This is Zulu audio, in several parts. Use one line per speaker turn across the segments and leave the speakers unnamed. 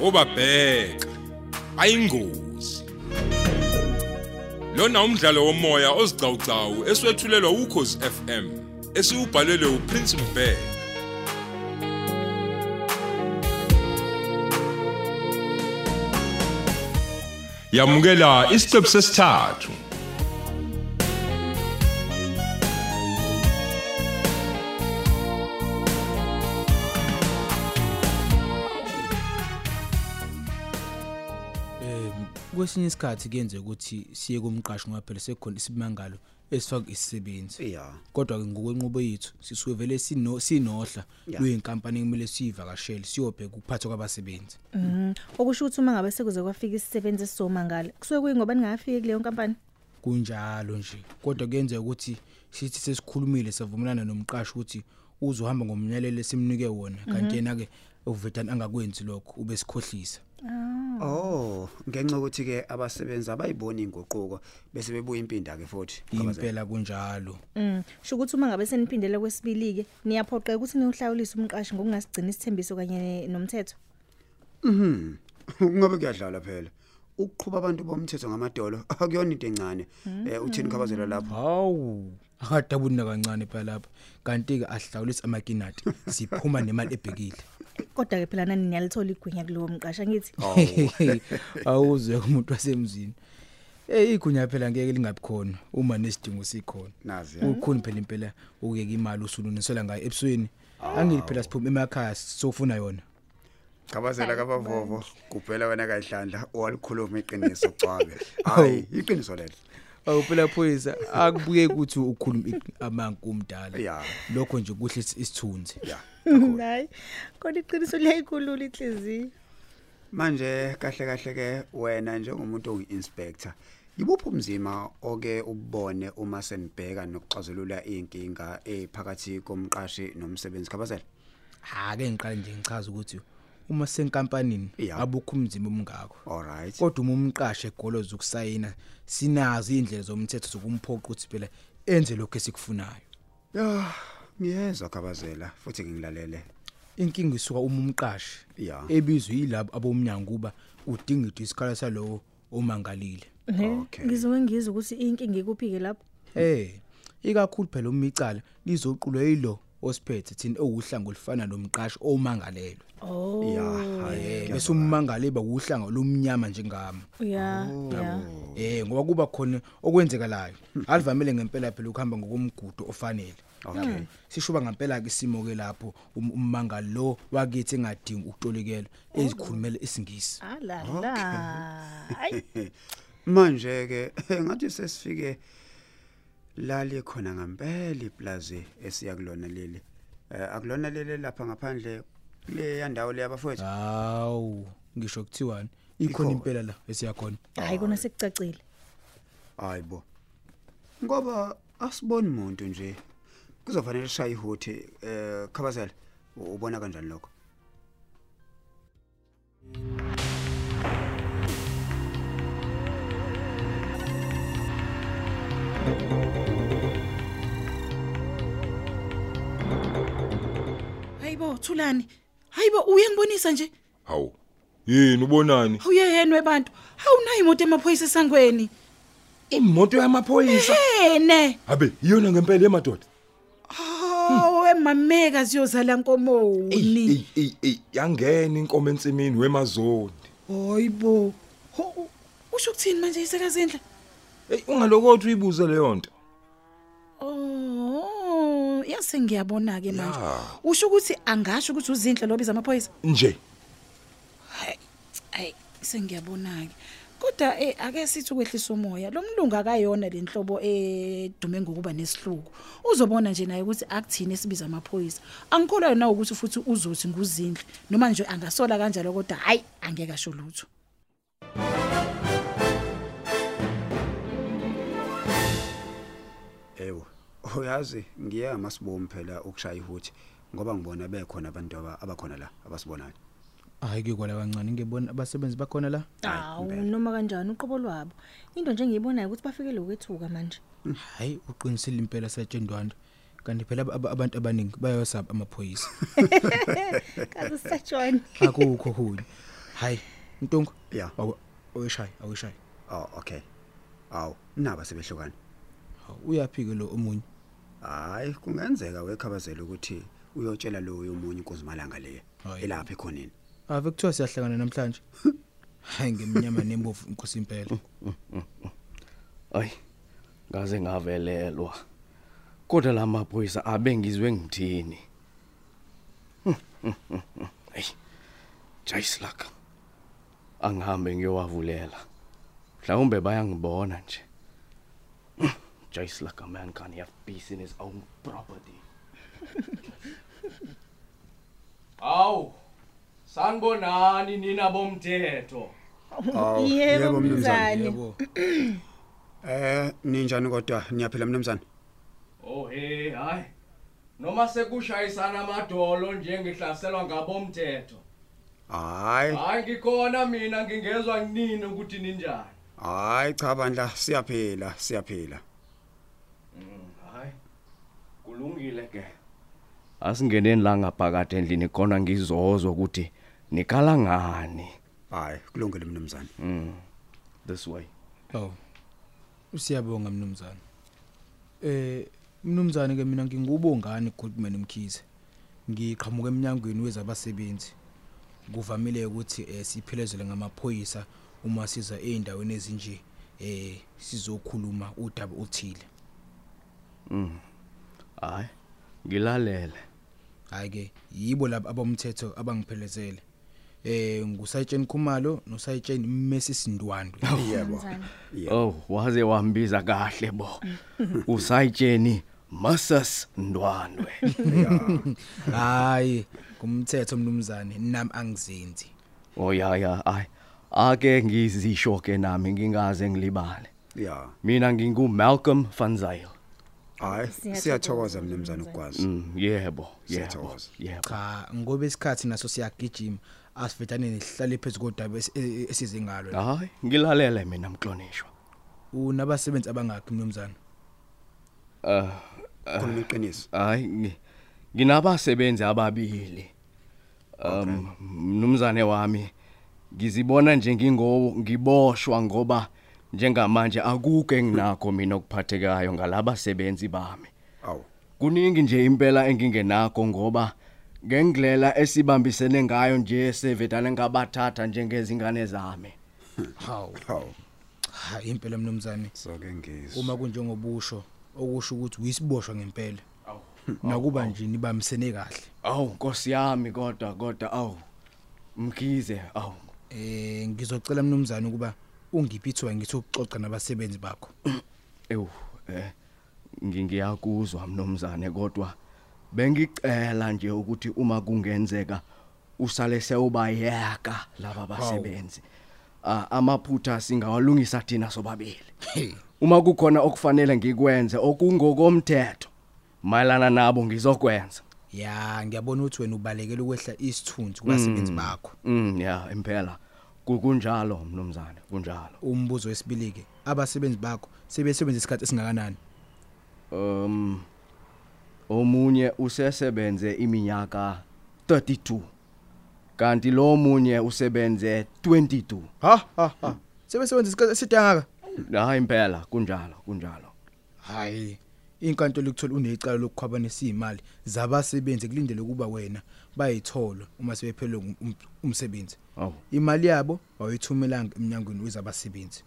obabheka ayingozi lona umdlalo womoya ozicawucawu eswetshulelwa ukhozi FM esiubhalelwe uPrince Mbeki yamukela isiqephu sesithathu
um kwesinye isikhathi kuyenzeka ukuthi siye kumqashi ngoba phela sekukhona isimangalo esifaka isisebenzi
ya
kodwa-ke ngokwenqubo yethu sisuke vele sino- sinohla
Ya.
luyinkampani kumele siyivakashele siyobheka ukuphathwa kwabasebenzi
okusho ukuthi uma ngabe sekuze kwafika isisebenzi esizomangala kusuke kuyingoba ningafiki kuleyo nkampani
kunjalo nje kodwa kuyenzeka ukuthi sithi sesikhulumile savumelana nomqashi ukuthi uzohamba ngomnyalelo esimnike wona kanti yena-ke uvetani angakwenzi lokho ube sikhohlisa
oh ngenxa ukuthi ke abasebenzi abayiboni inguquko bese bebuya impinda ke futhi kwabazali.
impela kunjalo
um sho ukuthi uma ngabe seniphindele kwesibili-ke niyaphoqeka ukuthi niwuhlawulise umqashi ngokungasigcini isithembiso kanye ne- nomthetho
kungabe kuyadlala phela ukuqhuba abantu bomthetho ngamadolo akuyona into encane Eh, uthini khabazela lapho
hawu akadabuni nakancane phela lapha kanti-ke asihlawulisi amakinati siphuma nemali ebhekile
kodwa-ke phela nani niyalithola igwinya kulowo mqashi angithi
awuze umuntu wasemzini Eh igunya phela ngeke lingabi khona uma nesidingo sikhona.
nazi ya.
Ukhuni phela impela ukuyeka imali usulunisela ngayo ebusweni. Angili phela siphuma emakhaya sofuna yona.
Khabazela kabavuvo kubhela wena kaHlandla owalikhuluma iqiniso cwabe hayi iqiniso lelo
Awu phela phoyisa akubuye ukuthi ukhuluma amanku umdala.
Ya.
Lokho nje kuhle isithunzi.
ya
hayi kodwa iqiniso liyayikulula inhliziyo
manje kahle kahle ke wena njengomuntu ongi-inspector yibuphi umzima oke ubone uma senibheka nokuxazulula iy'nkinga ephakathi komqashi nomsebenzi khabazela
Ha ke ngiqale nje ngichaza ukuthi uma senkampanini
Ya.
abukho umzimba omngako.
allright
kodwa uma umqashe egoloza ukusayina sinazo indlela zomthetho zokumphoqa ukuthi phela enze lokho esikufunayo
ya ngiyezwa khabazela futhi ngingilalele
inkinga isuka uma umqashi
Ya.
ebizwe yilabo abomnyango kuba udinga idwe isikhala salowo omangalile
Okay.
ngizoke ngizwe ukuthi inkinga ikuphi-ke lapho
eh ikakhulu phela uma icala lizoqulwa yilo osiphethe thina owuhlanga olufana nomqashi omangalelwe
Oh,
ya
eh
hayi
bese ummangalelwa uhlanga lomnyama njengami
ya ya
eh ngoba kuba khona okwenzekalayo alivamile ngempela phela ukuhamba ngokomgudu ofanele Mm.
okay
sishuba ngempela ke isimo ke lapho um- ummangali lo wakithi engadingi ukutolikela ezikhulumela isingisi
alala Ah, hayi
manje ke ngathi sesifike lali khona ngempela iplazi esiya kulona leli Eh, akulona leli lapha ngaphandle leya ndawo leya bafowethu
hawu ngisho kuthiwani ikhona
Ikhona.
impela la esiyakhona
hayi kona sekucacile
hayi bo ngoba asiboni muntu nje kuzofanele shaye ihuthi eh khabazela u- ubona kanjani lokho
hayibo thulani hayibo uyangibonisa nje
hawu yini ubonani
awuyeyenwe bantu awunayo imoto emaphoyisa esangweni
imoto yamaphoyisa
ene
abe iyona ngempela emadoda
owe mameka ziyozala nkomoni
Oh, ey ey yangena inkomo ensimini wemazondi
hayibo Ho- u- usho ukuthini manje isekazindla
ey ungalokothi uyibuze leyo nto
oh yase ngiyabona-ke manje
Ya.
usho ukuthi angasho ukuthi uzinhle lobiza amaphoyisa
nje
hayi hayi sengiyabona-ke kodwa eh, ake sithi ukwehlisa umoya lo mlungu akayona le nhlobo edume ngokuba nesihluku uzobona nje naye ukuthi akuthini esibiza amaphoyisa angikholwa yona ukuthi futhi uzothi nguzinhle noma nje angasola kanjalo kodwa hhayi angeke asho lutho
ewo uyazi ngiye amasibomu phela ukushaya ihuthi ngoba ngibona bekhona abantu aba- abakhona la abasibonayo
hayi kuyokwala kancane ngibona abasebenzi bakhona la
awu noma kanjani uqobo lwabo into nje engiyibonayo ukuthi bafikele ukwethuka manje
Mm.
hayi uqinisile impela satshindwanda kanti phela aba- aba- abantu abaningi bayawasaba amaphoyisa
kaze sisajoni
akukho hunye hayi ntunga
Ya.
awu- awuyishayi awuyishayi
Oh okay. Aw, naba sebehlukana.
Hawu, uyaphi ke lo omunye
Hayi, kungenzeka wekhabazela ukuthi uyotshela lo yomunye inkozimalanga le.
Hhayi.
Elapha ekhoneni.
ave kuthiwa siyahlangana namhlanje hayi ngemnyama nembovu inkosi impela
Ay. Ngaze ngavelelwa. Kodwa lamaphoyisa abengizwe ngithini? Ay. Jayislaka. Angihambe ngiyowavulela. Mhlawumbe bayangibona nje. Jayislaka man can have peace in his own property. Aw. Sanibonani nina bomthetho.
Awu, yebo, mnumzane.
yebo
Eh, ninjani kodwa? Niyaphila mnumzane?
Oh hey hayi. Noma sekushayisana amadolo njengihlaselwa ngabomthetho.
Hayi,
Hayi ngikhona mina ngingezwe kunini ukuthi ninjani.
hayi cha bandla, siyaphila, siyaphila.
Mm, Hayi. Kulungile ke. Asingeneni la ngaphakathi endlini khona ngizozwa ukuthi nikala ngani.
Hayi, kulungile mnumzane.
Mm, This way.
awu siyabonga mnumzane eh mnumzane ke mina ngingubongani Goodman Mkhize ngiqhamuka eminyangweni wezabasebenzi kuvamile ukuthi eh, siphelezelwe ngamaphoyisa uma siza eindaweni ezinje eh sizokhuluma udaba uthile
Hayi. Ngilalele.
hayi ke yibo labo abomthetho abangiphelezele eh ngusayitsheni Khumalo nosayitsheni Messi Sindwandwe
Yebo. Yeah.
Oh, waze wambiza kahle bo. Usayitsheni Masas Ndwandwe.
hayi kumthetho mnumzane nami angizenzi
Oh ya ya ay ake ngizisho ke nami ngingaze ngilibale
Yeah.
mina ngingu Malcolm van Zyl
Hayi, siyathokoza mnumzane ukwazi.
mm, yebo yebo
Siyathokoza.
yebo
cha ngoba isikhathi naso siyagijima asivedane nesihlale phezulu kodaba esizingalo
hayi ngilalele mina mklonishwa
unabasebenzi abangakhi mnumzane
Khona iqiniso.
Eh, hayi ngi- nginabasebenzi ababili um mnumzane wami ngizibona nje ngingo ngiboshwa ngoba njengamanje akukho enginakho mina okuphathekayo ngalabasebenzi bami
Awu.
kuningi nje impela engingenakho ngoba ngendlela esibambisene ngayo nje sevedane ngabathatha njengezingane zami
hawu
Awu.
hayi impela mnumzane
So ke ngizwa.
uma kunjengobusho okusho ukuthi uyisiboshwa ngempela nakuba nje nibamisene kahle
awu nkosi yami kodwa kodwa awu mkhize awu
eh ngizocela mnumzane ukuba ungiphi ithuba ngithi ukuxoxa nabasebenzi bakho
ewu eh ngingiyakuzwa mnomzane kodwa bengicela nje ukuthi uma kungenzeka usale sewubayeka laba basebenzi Ah, amaphutha singawalungisa thina sobabili uma kukhona okufanele ngikwenze okungokomthetho mayelana nabo ngizokwenza
ya ngiyabona ukuthi wena ubalekela ukwehla isithunzi kubasebenzi bakho
mm yeah impela kukunjalo mnomzane kunjalo
umbuzo wesibili ke abasebenzi bakho sebesebenza isikhathi esingakanani
um omunye usesebenze iminyaka 32 kanti lo munye usebenze 22
ha ha ha sebesebenza isikhathi eside kangaka
hayi impela kunjalo kunjalo
hayi inkantolo ikuthola unecala lokukhwabanisa izimali zabasebenzi kulindele ukuba wena bayithola uma sebephelwe ngum- um- umsebenzi
aw
imali yabo awayithumelanga eminyangweni wezabasebenzi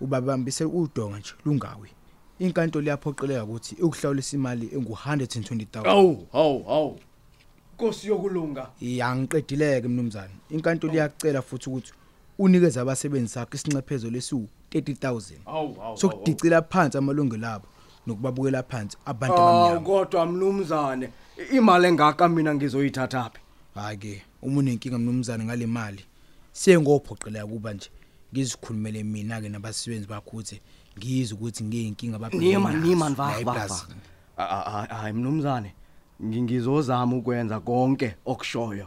ubabambise udonga nje lungawi inkantolo yaphoqeleka ukuthi ukuhlawulisa imali engu120000
aw aw aw kosi yokulunga
yangiqedileke mnumzane inkantolo iyacela futhi ukuthi unikeze abasebenzi sakhe isincephezo lesiwu 30000
aw aw
sokudicila phansi amalungelo abo nokubabukela phansi abantu
aw
abamnyama
Ah, kodwa mnumzane imali engaka mina ngizoyithatha phi
hayi ke uma unenkinga mnumzane ngale mali sengophoqeleka kuba nje ngizikhulumele mina ke nabasebenzi bakho ukuthi ngizwe ukuthi ngiyinkinga
Nima nima nivava. Hayi mnumzane, ngingizozama ukwenza konke okushoyo.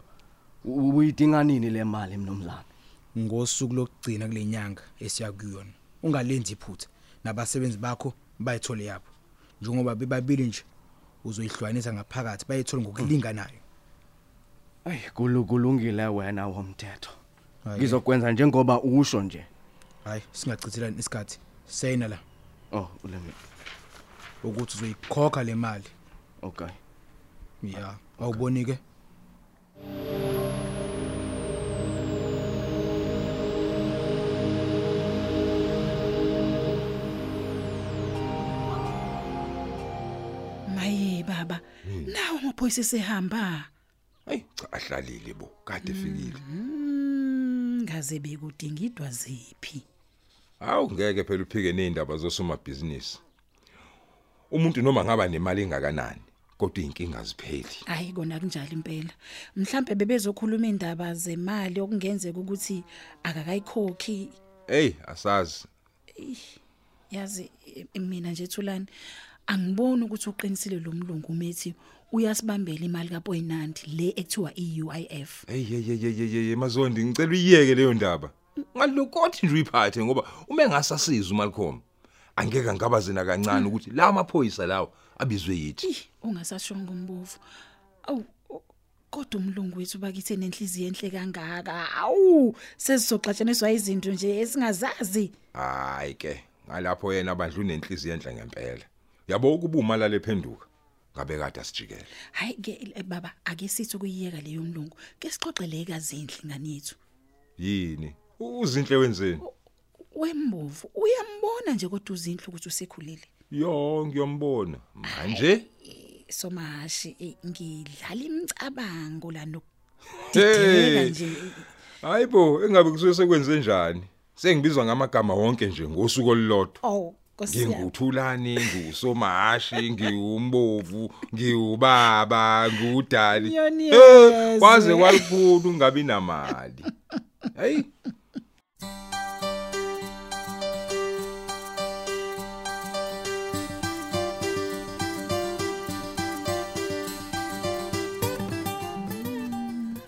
U- Uyidinga nini le mali mnumzane?
ngosuku lokugcina kule nyanga esiya kuyona ungalenzi iphutha nabasebenzi bakho bayithole yabo njengoba bebabili nje uzoyihlwanisa ngaphakathi bayithole ngokulinganayo
Ayi kulukulungile wena womthetho.
Hhayi.
ngizokwenza njengoba usho nje
hayi singachithelani isikhathi sayina la
oh ulemi
ukuthi uzoyikhokha le mali
okay
ya awuboni ke
maye baba nawo amaphoyisa esehamba
hayi cha ahlalile bo kade efikile
Mm, ngaze bekudingidwa ziphi
hawu ngeke phela uphike nezindaba zosomabhizinisi umuntu noma ngaba nemali engakanani kodwa inkinga azipheli
hayi kona kunjalo impela mhlambe bebezokhuluma indaba zemali okungenzeka ukuthi akakayikhokhi
hey asazi
yazi eh, mina nje Thulani angiboni ukuthi uqinisile lo mlungu umethi uyasibambela imali kaPoinandi le ekuthiwa iUIF
hey hey hey hey, hey hey, mazondi ngicela uyiyeke leyo ndaba ngalokothi nje uyiphathe ngoba uma engasasiza uMalcolm angeke ngabazina kancane ukuthi la maphoyisa lawo abizwe yithi
Ih, ungasashonga umbovu awu o- kodwa umlungu wethu bakithe nenhliziyo enhle kangaka awu sesizoxatshaniswa izinto nje esingazazi
hayi ke ngalapho yena abandlu nenhliziyo enhle ngempela yabo ukubuma la lephenduka ngabe kade asijikele
hayi ke baba ake sithi kuyiyeka leyo mlungu ke sixoxe leka zindli nganethu
yini uzinhle wenzeni
wembovu uyambona nje kodwa uzindlu ukuthi usekhulile
yo ngiyombona manje
somashi eh, ngidlala imicabango la nokudideka
Hey.
nje
hayi bo engabe kusuke sekwenze njani sengibizwa ngamagama wonke nje ngosuku olulodwa
oh nkosiyami
nginguthulani ngusomahashi ngiwumbovu ngiwubaba ngudali
Yoni yezwe.
kwaze kwalikhulu ngabi namali hey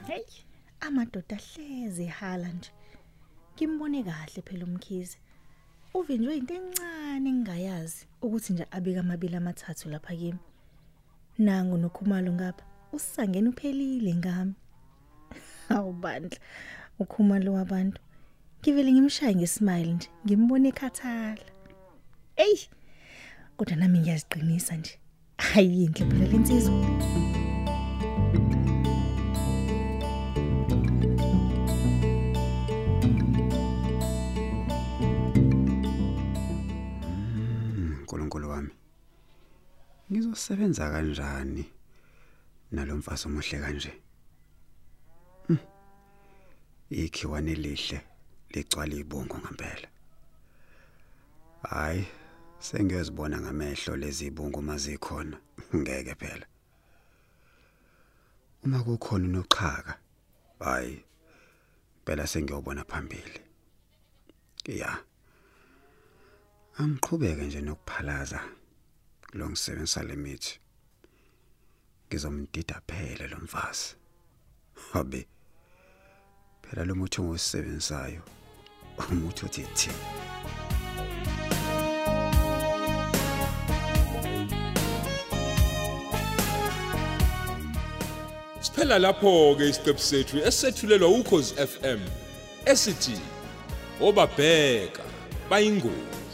hey amadoda hleze hala nje ngimbone kahle phela umkhize uvinjwe into encane engingayazi ukuthi nje abika amabili amathathu lapha kimi nangu nokhumalo ngapha usisangena uphelile ngami awubandla ukhumalo wabantu ngivele ngimshaye ngesmile nje ngimbone ekhathala ey kodwa nami ngiyaziqinisa nje ayinhle phela lensizwa
uNkulunkulu wami ngizosebenza kanjani nalomfaso omuhle kanje Hmm. ikhiwane lihle ligcwala ibongo ngempela hayi sengiyozibona ngamehlo lezi ibongo mazikhona ngeke phela uma kukhona noqhaka hayi phela sengiyobona phambili yeah angiqhubeke nje nokuphalaza lo ngisebenzisa lemithi ngizomdida phele lo mfazi hobe phela lo muthi ongosebenzayo umuthi othi thi
Siphela lapho ke isiqephu sethu esethulelwa ukhozi FM esithi obabheka bayingozi